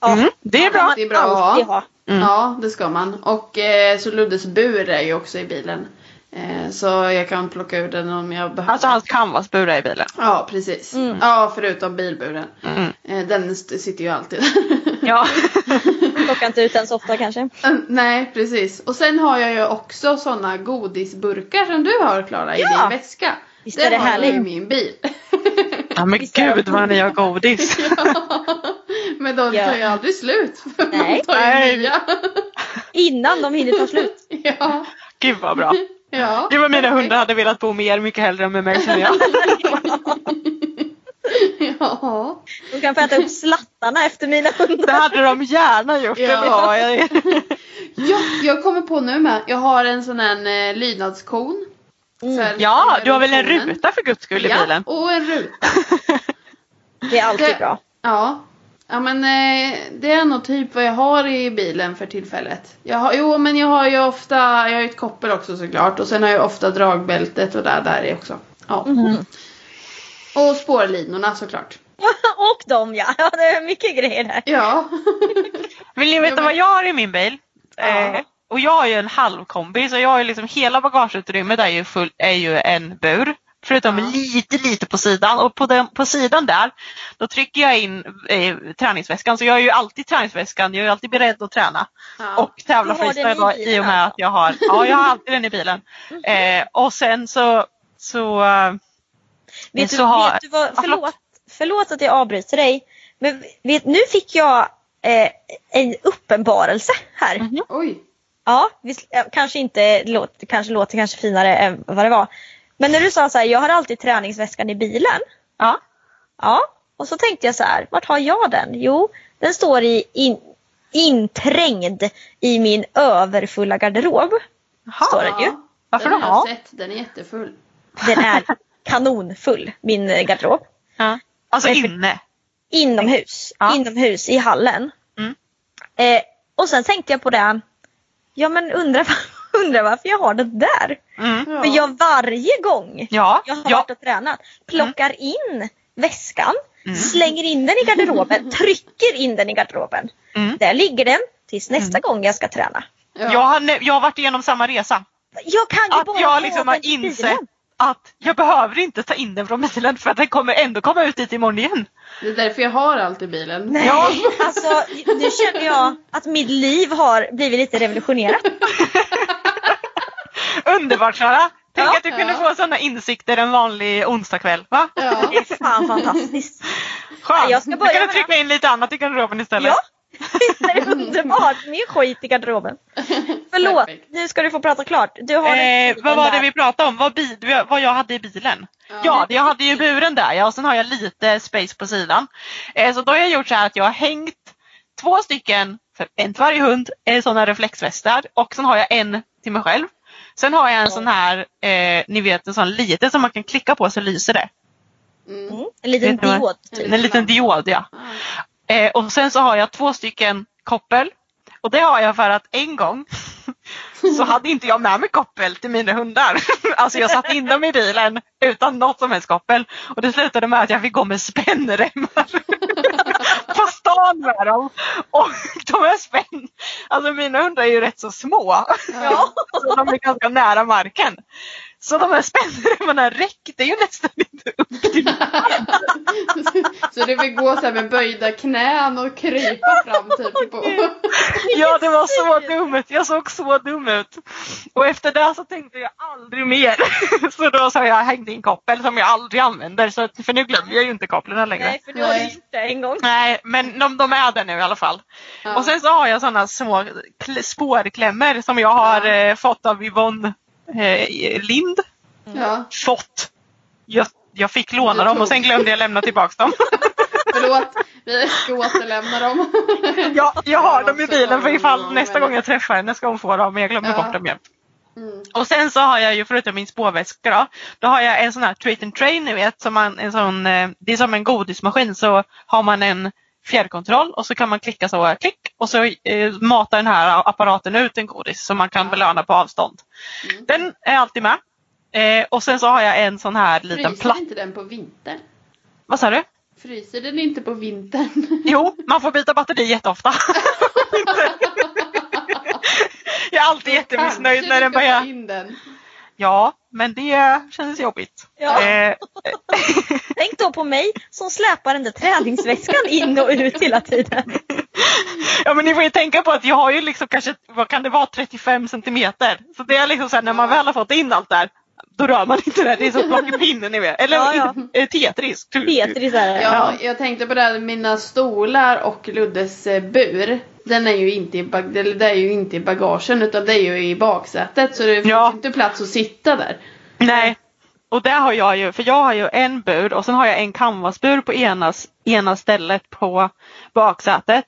C: Ja.
D: Mm. Det är bra.
B: Det är bra
C: Alltid
B: att ha.
C: ha.
D: Mm.
B: Ja, det ska man. Och eh, så Luddes bur är ju också i bilen. Eh, så jag kan plocka ur den om jag behöver.
D: Alltså hans canvasbur är i bilen.
B: Ja, precis. Ja, förutom bilburen.
D: Mm.
B: Eh, den st- sitter ju alltid
D: Ja.
C: Plockar inte ut den så ofta kanske.
B: Mm, Nej precis. Och sen har jag ju också såna godisburkar som du har Klara i
C: Ja.
B: din väska.
C: Visst är det
B: har jag i
C: härligt?
B: min bil.
D: ja men
C: Visst är det-
D: gud vad ni har godis.
B: Men de
C: Ja.
B: tar ju aldrig slut.
C: Nej.
B: De tar ju
D: Nej.
B: nya.
C: Innan de hinner ta slut.
B: ja.
D: Gud vad bra.
B: ja.
D: Det var mina hundar hade velat bo med er mycket hellre än med mig känner jag.
B: Ja.
C: De kan få äta upp slattarna efter mina
D: Det
C: hundar.
D: hade de gärna gjort.
B: Ja.
D: eller vad jag-
B: ja. Jag kommer på nu med. Jag har en sån här eh, lydnadskon. För-
D: Mm. Ja,
B: för
D: du har väl en
B: konen.
D: ruta för guds skull i bilen?
B: Ja, och en ruta.
C: Det är alltid bra.
B: Ja. Ja men eh, det är nog typ vad jag har i bilen för tillfället. Jag har, jo men jag har ju ofta, jag har ju ett koppel också såklart och sen har jag ofta dragbältet och där, där är också. Ja.
D: Mhm.
B: Och spårlinorna såklart.
C: Och dem ja. ja. Det är mycket grejer där.
B: Ja.
D: Vill ni veta
B: Ja, men-
D: vad jag har i min bil? Eh, och jag har ju en halvkombi så jag har ju liksom hela bagageutrymmet är ju, full, är ju en bur. Förutom
B: Ja.
D: lite lite på sidan och på, den, på sidan där då trycker jag in eh, träningsväskan så jag är ju alltid träningsväskan, jag är ju alltid beredd att träna.
B: ja.
D: Och tävla
C: Du har den
D: freestyle
C: i
D: då,
C: bilen Mhm.
D: i och med att jag har, ja jag har alltid den i bilen. Eh, och sen så, så eh,
C: Vet du,
D: så har-
C: vet du vad,
D: Ja, förlåt.
C: förlåt, förlåt att jag avbryter dig. Men vet, nu fick jag eh, en uppenbarelse här.
D: Mhm.
B: Oj.
C: Ja, visst, eh, kanske inte låter, kanske låter kanske finare än vad det var. Men när du sa så här, jag har alltid träningsväskan i bilen.
D: ja.
C: Ja, och så tänkte jag så här, vart har jag den? Jo, den står i in, inträngd i min överfulla garderob. Står den ju.
B: Ja.
D: Varför
B: den
D: då?
B: har jag sett, den är jättefull.
C: Den är kanonfull, min eh, garderob.
D: ja. Alltså
C: Men för-
D: inne.
C: Inomhus,
D: Ja.
C: inomhus i hallen.
D: Mm.
C: Eh, och sen tänkte jag på det, ja men undrar undra varför jag har den där.
D: Mm.
B: Ja.
C: För jag varje gång
D: Ja,
C: jag har
D: ja. Mm.
C: varit och tränat plockar in väskan, slänger in den i garderoben, trycker in den i garderoben.
D: Mm.
C: Där ligger den tills nästa gång jag ska träna.
B: Ja.
D: Jag, har, nu- jag har varit igenom samma resa.
C: Jag kan ju bara
D: Att jag
C: få
D: liksom
C: den
D: har
C: till
D: insett
C: bilen.
D: att jag behöver inte ta in den från bilen för att den kommer ändå komma ut dit imorgon igen.
B: Det är därför jag har allt i bilen.
C: Nej,
D: Ja.
C: alltså nu känner jag att mitt liv har blivit lite revolutionerat.
D: Underbart Klara! Tänk
C: Ja.
D: att du kunde få sådana insikter en vanlig onsdagkväll. Va?
B: Ja.
C: Det är fan fantastiskt.
D: Skönt!
C: jag ska
D: du
C: börja
D: kan
C: med
D: trycka in lite annat i garderoben istället.
C: Ja, det är underbart. Mer skit i garderoben. Förlåt,
B: Perfekt.
C: nu ska du få prata klart. Du har
D: Eh,
C: den
D: vad var det
C: där.
D: vi pratade om? Vad, bi- du- vad jag hade i bilen?
B: Ja.
D: Ja, det- jag hade ju buren där ja, och sen har jag lite space på sidan. Eh, så då har jag gjort så här att jag har hängt två stycken, för en till varje hund, eh, sådana reflexvästar och sen har jag en till mig själv. Sen har jag en sån här, eh, ni vet en sån liten som man kan klicka på så lyser det.
B: Mm.
C: Mm, en liten
D: Vet du vad?
C: diod.
B: En
C: Typ.
D: En liten diod ja. Eh, och sen så har jag två stycken koppel. Och det har jag för att en gång så hade inte jag med mig koppel till mina hundar. Alltså jag satte in dem i bilen utan något som helst koppel. Och det slutade med att jag fick gå med spännremmar på stan med dem. Och de är spänn... Alltså mina hundar är ju rätt så små.
B: Ja.
D: Så de är ganska nära marken. Så de här spännremmarna räckte ju nästan inte upp.
B: Så du vill gå så här med böjda knän och krypa fram typ på...
D: Ja, det var så dumt. Jag såg så dum ut. Och efter det så tänkte jag aldrig mer. Så då så har jag hängt in koppel som jag aldrig använder. Så, att- för nu glömmer jag ju inte kopplen längre.
C: Nej,
D: Nej.
C: för du har
B: Nej.
C: du gjort det en gång.
D: men de, de är där nu i alla fall.
B: Ja.
D: Och sen så har jag sådana små kl- spårklämmor som jag har
B: Ja.
D: eh, fått av Yvonne eh, Lind.
B: ja.
D: Fått! Jag, jag fick
B: Du
D: låna dem
B: tog.
D: och sen glömde jag lämna tillbaka dem.
B: Förlåt, vi ska återlämna dem.
D: Jag, jag har
B: Ja,
D: dem i
B: så
D: bilen
B: tar
D: för
B: vi
D: ifall
B: dem,
D: nästa
B: eller?
D: gång jag träffar henne ska hon få dem men jag glömmer
B: Ja.
D: bort dem jämt.
B: Mm.
D: Och sen så har jag ju förutom min spårväska då, då har jag en sån här treat and train ni vet. Som man, en sån, eh, det är som en godismaskin så har man en fjärrkontroll och så kan man klicka så, klick och så eh, matar den här apparaten ut en godis som man kan
B: Ja.
D: belöna på avstånd.
B: Mm.
D: Den är alltid med. Eh, och sen så har jag en sån här liten
B: Fryser
D: platt...
B: inte den på vintern?
D: Vad sa du?
B: Fryser den inte på vintern?
D: Jo, man får byta batteri jätteofta. jag är alltid jättemissnöjd när den
B: Kanske vi ska ta
D: börjar
B: in den.
D: Ja, men det kändes jobbigt.
C: Ja.
D: Eh,
C: Tänk då på mig som släpar den där träningsväskan in och ut hela tiden.
D: ja men ni får ju tänka på att jag har ju liksom kanske, vad kan det vara, 35 centimeter. Så det är liksom så här, när man väl har fått in allt där, då rör man inte det. Det är som plockepinne ni vet. Eller
C: Ja, ja.
D: eh, Tetris.
C: Petri så här.
B: Ja, jag tänkte på det här, mina stolar och Luddes eh, bur. Den är ju inte i, bag- eller det är ju inte i bagagen utan det är ju i baksätet så det finns
D: Ja.
B: ju inte plats att sitta där.
D: Nej. Och där har jag ju, för jag har ju en bur och sen har jag en canvasbur på ena, ena stället på baksätet.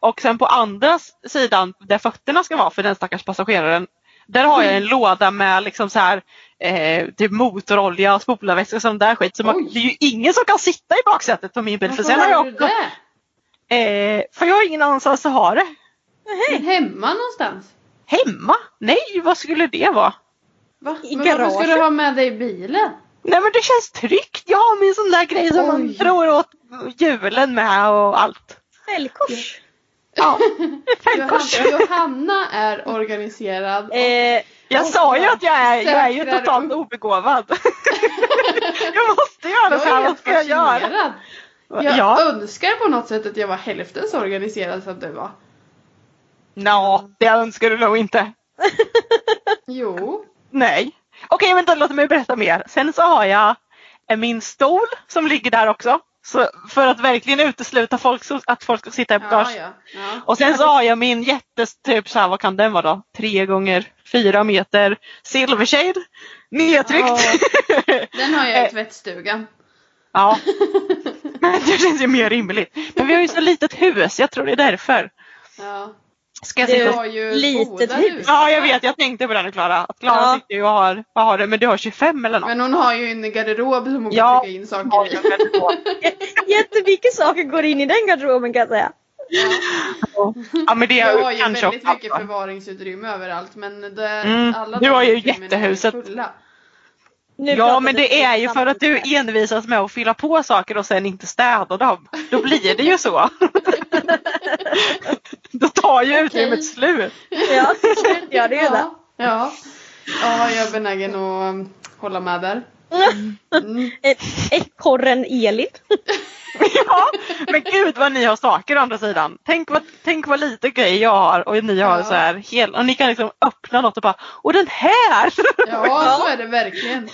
D: Och sen på andra sidan där fötterna ska vara för den stackars passageraren. Där har jag en låda med liksom så här eh, typ motorolja och spolarvätska och sån där skit. Så man,
B: Oj.
D: det är ju ingen som kan sitta i baksätet på min bil. För,
B: Varför
D: sen har jag
B: har du
D: också,
B: det?
D: eh, för jag har ingen annanstans att ha det.
B: Men Hemma någonstans?
D: Hemma? Nej, vad skulle det vara?
B: Va?
C: I
B: Men varför ska
C: garaget.
B: du ha med dig bilen?
D: Nej men det känns tryggt. Jag har min sån där grej som man
B: Oj.
D: drar åt julen med och allt.
C: Fällkors.
D: Ja. Fällkors.
B: Johanna, Johanna är organiserad.
C: Eh,
D: Jag sa ju att jag är, jag är ju
B: Säkrar
D: totalt
B: upp.
D: obegåvad. jag måste göra så här. Vad ska jag göra?
B: Jag
D: Ja.
B: önskar på något sätt att jag var hälften så organiserad som du var.
D: Nå, det önskar du nog inte.
B: Jo.
D: Nej. Okej, vänta, låt mig berätta mer. Sen så har jag eh, min stol som ligger där också. Så för att verkligen utesluta folk så att folk ska sitta i
B: Ja,
D: bagage.
B: ja. ja.
D: Och sen så har jag min jättes, typ så här, vad kan den vara då? Tre gånger fyra meter silvershade. Nedtryckt.
B: Den har jag i
D: Eh,
B: tvättstugan.
D: ja. Men det känns ju mer rimligt. Men vi har ju så litet hus, jag tror det är därför.
B: Ja.
D: Ska jag
C: Det
D: sitta
B: Du
D: och...
B: har ju
C: litet
B: båda
C: hus.
B: husen.
D: Ja jag vet, jag tänkte på den Klara. Att Klara
C: Ja.
D: sitter ju och har, vad har du, men du har 25 eller något.
B: Men hon har ju en garderob som hon
D: Ja.
B: kan trycka in
D: Ja,
B: saker i.
D: jag vet inte.
C: jättemycket saker går in i den garderoben kan jag säga.
D: Ja men det
B: Jag har
D: är
B: ju
D: kanske
B: väldigt
D: också.
B: mycket förvaringsutrymme överallt men det,
D: Mm.
B: alla
D: Du
B: de
D: har ju
B: utrymmen är
D: jättehuset.
B: fulla.
C: Nu pratar
D: ja men
C: vi
D: det är ju
C: om
D: för att du
C: samtidigt.
D: envisas med att fylla på saker och sen inte städa dem. Då blir det ju så. Då tar ju utrymmet slut.
C: Ja, till slut gör det ju det.
B: Ja, ja. ja, jag är benägen att um, hålla med där. Mm.
C: Ett- Eh, Ekorren Elin.
D: Ja, men gud vad ni har saker å andra sidan. Tänk vad, tänk vad lite grejer jag har och ni har
B: Ja.
D: så här hel, och ni kan liksom öppna något och bara och den här!
B: Ja, så är det verkligen.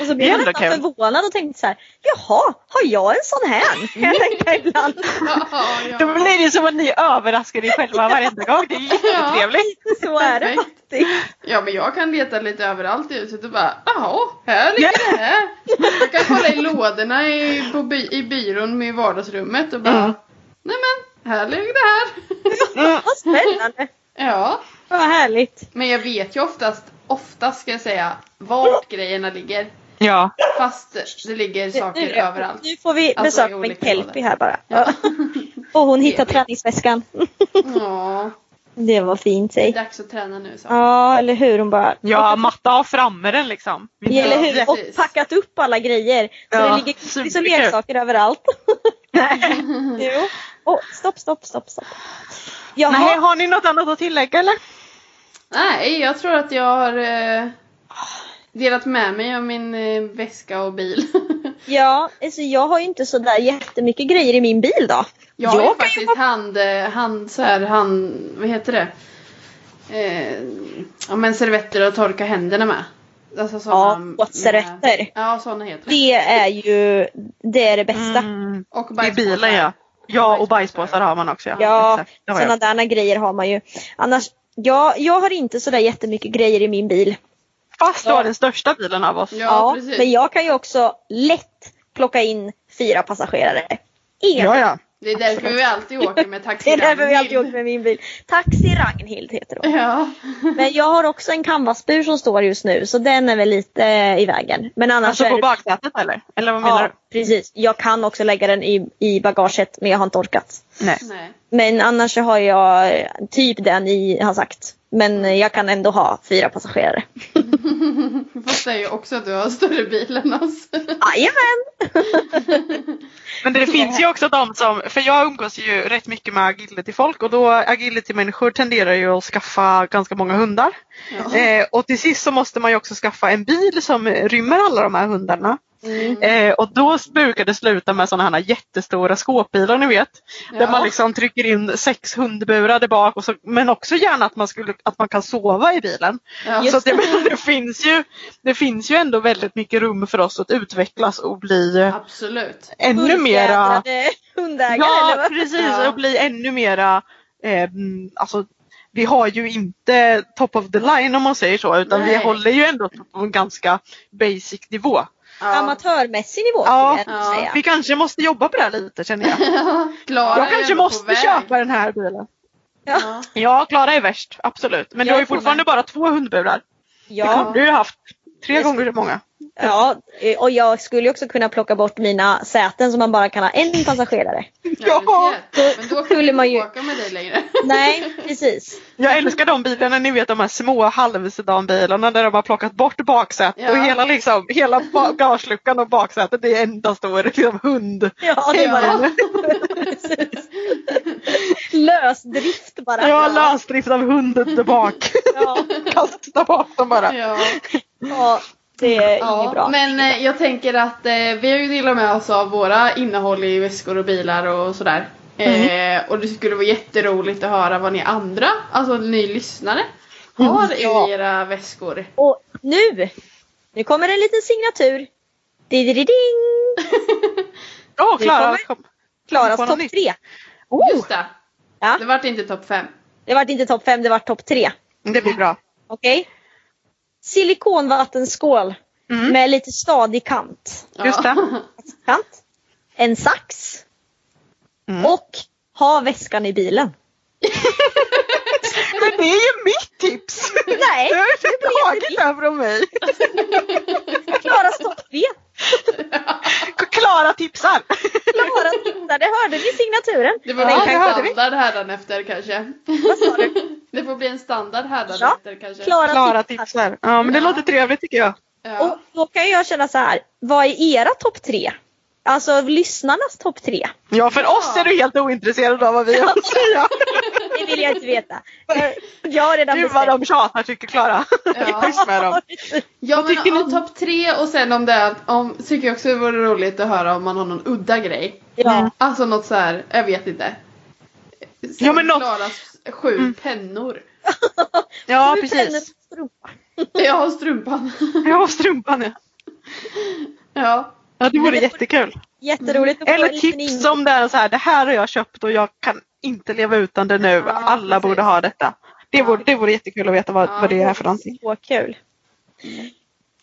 C: Och så
D: Det
C: blir
D: är
C: jag
D: ändå
C: nästan
D: kul.
C: förvånad och tänkte så här, jaha, har jag en sån här? Kan jag tänka ibland.
B: Ja,
D: Då
B: ja.
D: blir det som att ni överraskar er själva varenda gång. Det är jättetrevligt.
C: Så är det
B: Perfekt.
C: faktiskt.
B: ja, men jag kan leta lite överallt i huset och bara jaha, här ligger det här. Jag kan kolla i lådorna i, på by, i byrån med vardagsrummet och bara
D: Mm.
B: nej men här ligger det här.
D: Mm.
C: Vad spännande.
B: Ja,
C: Vad härligt.
B: men jag vet ju oftast, oftast ska jag säga, vart grejerna ligger.
D: Ja.
B: Fast det ligger saker
C: nu,
B: överallt.
C: Nu får vi
B: Alltså,
C: besök
B: i
C: med
B: olika
C: Kelpie
B: lådor.
C: här bara. Ja. Och hon hittar
B: Trevligt.
C: träningsväskan.
D: Mm.
B: Ja,
C: Det var fint
B: det är
C: säg.
B: dags att träna nu så.
C: Ja, eller hur? Hon bara...
D: Ja, Matta har framme den liksom.
C: Ja, eller hur?
B: precis.
C: Och packat upp alla grejer. Så
D: Ja,
C: det ligger godis och
D: superkul.
C: leksaker överallt.
D: Nej.
C: jo. Oh, stopp, stopp, stopp, stopp. Jaha.
D: Nej, har ni något annat att tillägga eller?
B: Nej, jag tror att jag har eh, delat med mig av min eh, väska och bil.
C: Ja, alltså jag har ju inte sådär jättemycket grejer i min bil då.
B: Jag har ju
D: Jag kan ju
B: faktiskt hand, eh, hand, så här, hand, vad heter det? Eh, ja men servetter att torka händerna med. Alltså såna,
C: Ja,
B: med-
C: våtservetter.
B: Ja, sådana heter det.
C: Det är ju det, är det bästa.
D: Mm,
B: Och
D: I
B: bajspåsar.
D: bilen ja. Ja och bajspåsar har man också.
C: Ja,
D: exakt. Det har jag.
C: sådana där grejer har man ju. Annars, ja, jag har inte sådär jättemycket grejer i min bil.
D: Fast du har den största bilen av oss.
B: Ja,
C: Ja,
B: precis.
C: men jag kan ju också lätt plocka in fyra passagerare. Egen.
D: Ja, ja.
B: Det är därför vi alltid åker med taxi.
C: Det är därför vi alltid åker med min bil. Taxi Ragnhild heter hon.
B: Ja.
C: Men jag har också en canvasbur som står just nu så den är väl lite eh, i vägen. Men annars
D: Alltså
C: är
D: på
C: det-
D: baksätet eller? Eller vad menar
C: Ja, precis. Jag kan också lägga den i, i bagaget men jag har inte orkat.
D: du? Nej.
B: Nej.
C: Men annars så har jag eh, typ den i, har sagt. Men eh, jag kan ändå ha fyra passagerare.
B: Fast det är ju också att du har större bil än oss.
C: Jajamän!
D: Men det finns ju också de som, för jag umgås ju rätt mycket med agility-folk och då agility-människor tenderar ju att skaffa ganska många hundar.
B: Ja.
D: Eh, och till sist så måste man ju också skaffa en bil som rymmer alla de här hundarna.
B: Mm.
D: Eh, och då brukar det sluta med sådana här jättestora skåpbilar ni vet. Där man liksom trycker in sex hundburar där bak och så, men också gärna att man, skulle, att man kan sova i bilen.
B: Ja.
D: Så att jag menar, det, finns ju, det finns ju ändå väldigt mycket rum för oss att utvecklas och bli eh,
B: Absolut.
D: ännu mera
C: Fullfjädrade hundägare eller
D: Ja
C: vad?
D: precis
B: Ja.
D: och bli ännu mera eh, mm, alltså, vi har ju inte top of the line om man säger så utan
B: Nej.
D: vi håller ju ändå på en ganska basic nivå.
B: Ja.
C: Amatörmässig nivå
D: Ja.
C: skulle jag ändå säga.
D: Vi kanske måste jobba på det här lite känner jag.
B: Klara är
D: Jag kanske
B: ändå på
D: måste
B: väg.
D: köpa den här bilen.
B: Ja.
D: Ja Klara är värst, absolut. Men du
B: Jag
D: har ju
B: tror
D: fortfarande
B: det.
D: bara två hundburar. Det
C: Ja,
D: kunde du ju haft tre
C: Det-
D: gånger så många.
C: ja, eh, och jag skulle ju också kunna plocka bort mina säten så man bara kan ha en passagerare.
B: Ja, du ser.
C: Då
B: Men då kan
C: skulle
B: vi
C: man
B: inte
C: ju-
B: åka med dig längre.
C: Nej, precis.
D: Jag älskar de bilarna, ni vet de här små halvsedanbilarna där de har plockat bort baksätet
B: Ja.
D: och hela, liksom, hela bagageluckan och baksätet det är enda stor liksom, hund.
C: Ja, det var
B: Ja.
C: det. Lösdrift bara.
D: Jag har lösdrift av hunden där bak.
C: Ja,
D: Kasta bort dem bara.
B: Ja.
C: ja, det är
B: Ja,
C: inget bra.
B: Men eh, jag tänker att eh, vi har ju delat med oss av våra innehåll i väskor och bilar och sådär.
C: Mm.
B: Eh, och det skulle vara jätteroligt att höra vad ni andra, alltså ni lyssnare, har i
C: Mm, Ja.
B: era väskor.
C: Och nu! Nu kommer en liten signatur. Didididing!
D: Åh Klara!
C: kommer-
D: kom.
C: Klaras
D: Får något
C: topp
D: nytt?
C: tre. Oh.
B: Just det.
C: Ja.
B: Det vart inte topp fem.
C: Det vart inte topp fem, det vart topp tre.
D: Det blir bra.
C: Okej? Silikonvattenskål
D: Mm.
C: med lite stadig kant.
B: Ja.
D: Just det.
C: kant. En sax.
D: Mm.
C: Och ha väskan i bilen.
D: Men det är ju mitt tips!
C: Nej,
D: Du har ju
C: det blev
D: tagit det här från mig.
C: Klaras topp tre.
D: Klara tipsar!
C: Klara tittar, det hörde ni signaturen.
B: Det får
D: Ja,
B: bli
D: det
B: en
D: hörde vi.
B: standard hädanefter kanske.
C: Vad sa du?
B: Det får bli en standard hädanefter kanske.
C: Klara
D: Klara
C: tittar.
D: tipsar. Ja men det
B: Ja.
D: låter trevligt tycker jag.
B: Ja.
C: Och då kan jag känna så här, vad är era topp tre? Alltså lyssnarnas topp tre?
D: Ja, för oss är du helt ointresserad av vad vi har att säga.
C: Det vill jag inte veta. Jag- Jag har redan
D: Gud vad de tjatar tycker Klara.
B: Ja.
D: Schysst med dem.
B: Ja
D: Vad tycker
B: men
D: ni?
B: om topp tre och sen om det är att- om, tycker jag också det vore roligt att höra om man har någon udda grej.
C: Ja.
B: Alltså något så här, jag vet inte. Som
D: Ja, men något-
B: Klaras sju pennor.
D: Ja,
C: Bränner
D: precis.
C: strumpa.
B: Jag har strumpan.
D: Ja, strumpan ja.
B: ja.
D: Ja, det vore jättekul.
C: Jätteroligt att få
D: Eller
C: en liten
D: tips om det är så här, det här har jag köpt och jag kan inte leva utan det nu.
B: Ja,
D: Alla
B: precis.
D: borde ha detta. Det vore, det vore jättekul att veta vad,
B: Ja.
D: vad det är för någonting.
C: Så kul.
B: Mm.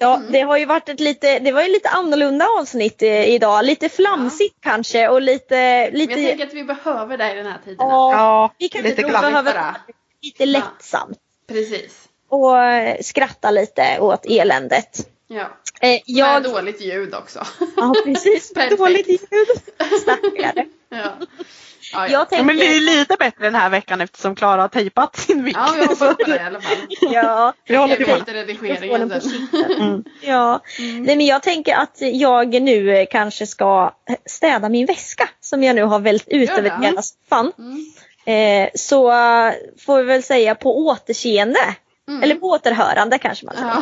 C: Ja, det har ju varit ett lite, det var ju lite annorlunda avsnitt i, idag. Lite flamsigt kanske och lite,
B: Men jag
C: lite,
B: tänker att vi behöver det i den här tiden.
D: Ja,
C: vi kanske
D: lite
C: nog
D: glatt.
C: behöver
B: Bara.
C: lite lättsamt
B: Precis.
C: och eh, skratta lite åt eländet.
B: Ja.
C: Eh,
B: Med
C: jag,
B: dåligt ljud också.
C: ja precis,
B: Perfekt.
C: dåligt ljud. Stackare.
B: ja. Ja, ja.
C: Jag
D: Ja, men det är ju
C: tänker,
D: lite bättre den här veckan eftersom Klara har tejpat sin mick.
B: ja, vi hoppas på det i alla fall.
C: ja,
D: Vi håller
B: Jag
D: tummarna.
B: byter alltså.
C: Jag får
B: redigeringen
C: den på
B: sen.
C: ja.
B: Mm.
C: Nej, men jag tänker att jag nu eh, kanske ska städa min väska som jag nu har vält ut
B: Gör det.
C: över hela soffan.
B: Mm.
C: Eh, så eh, får vi väl säga på återseende.
B: Mm.
C: Eller på återhörande kanske man säger.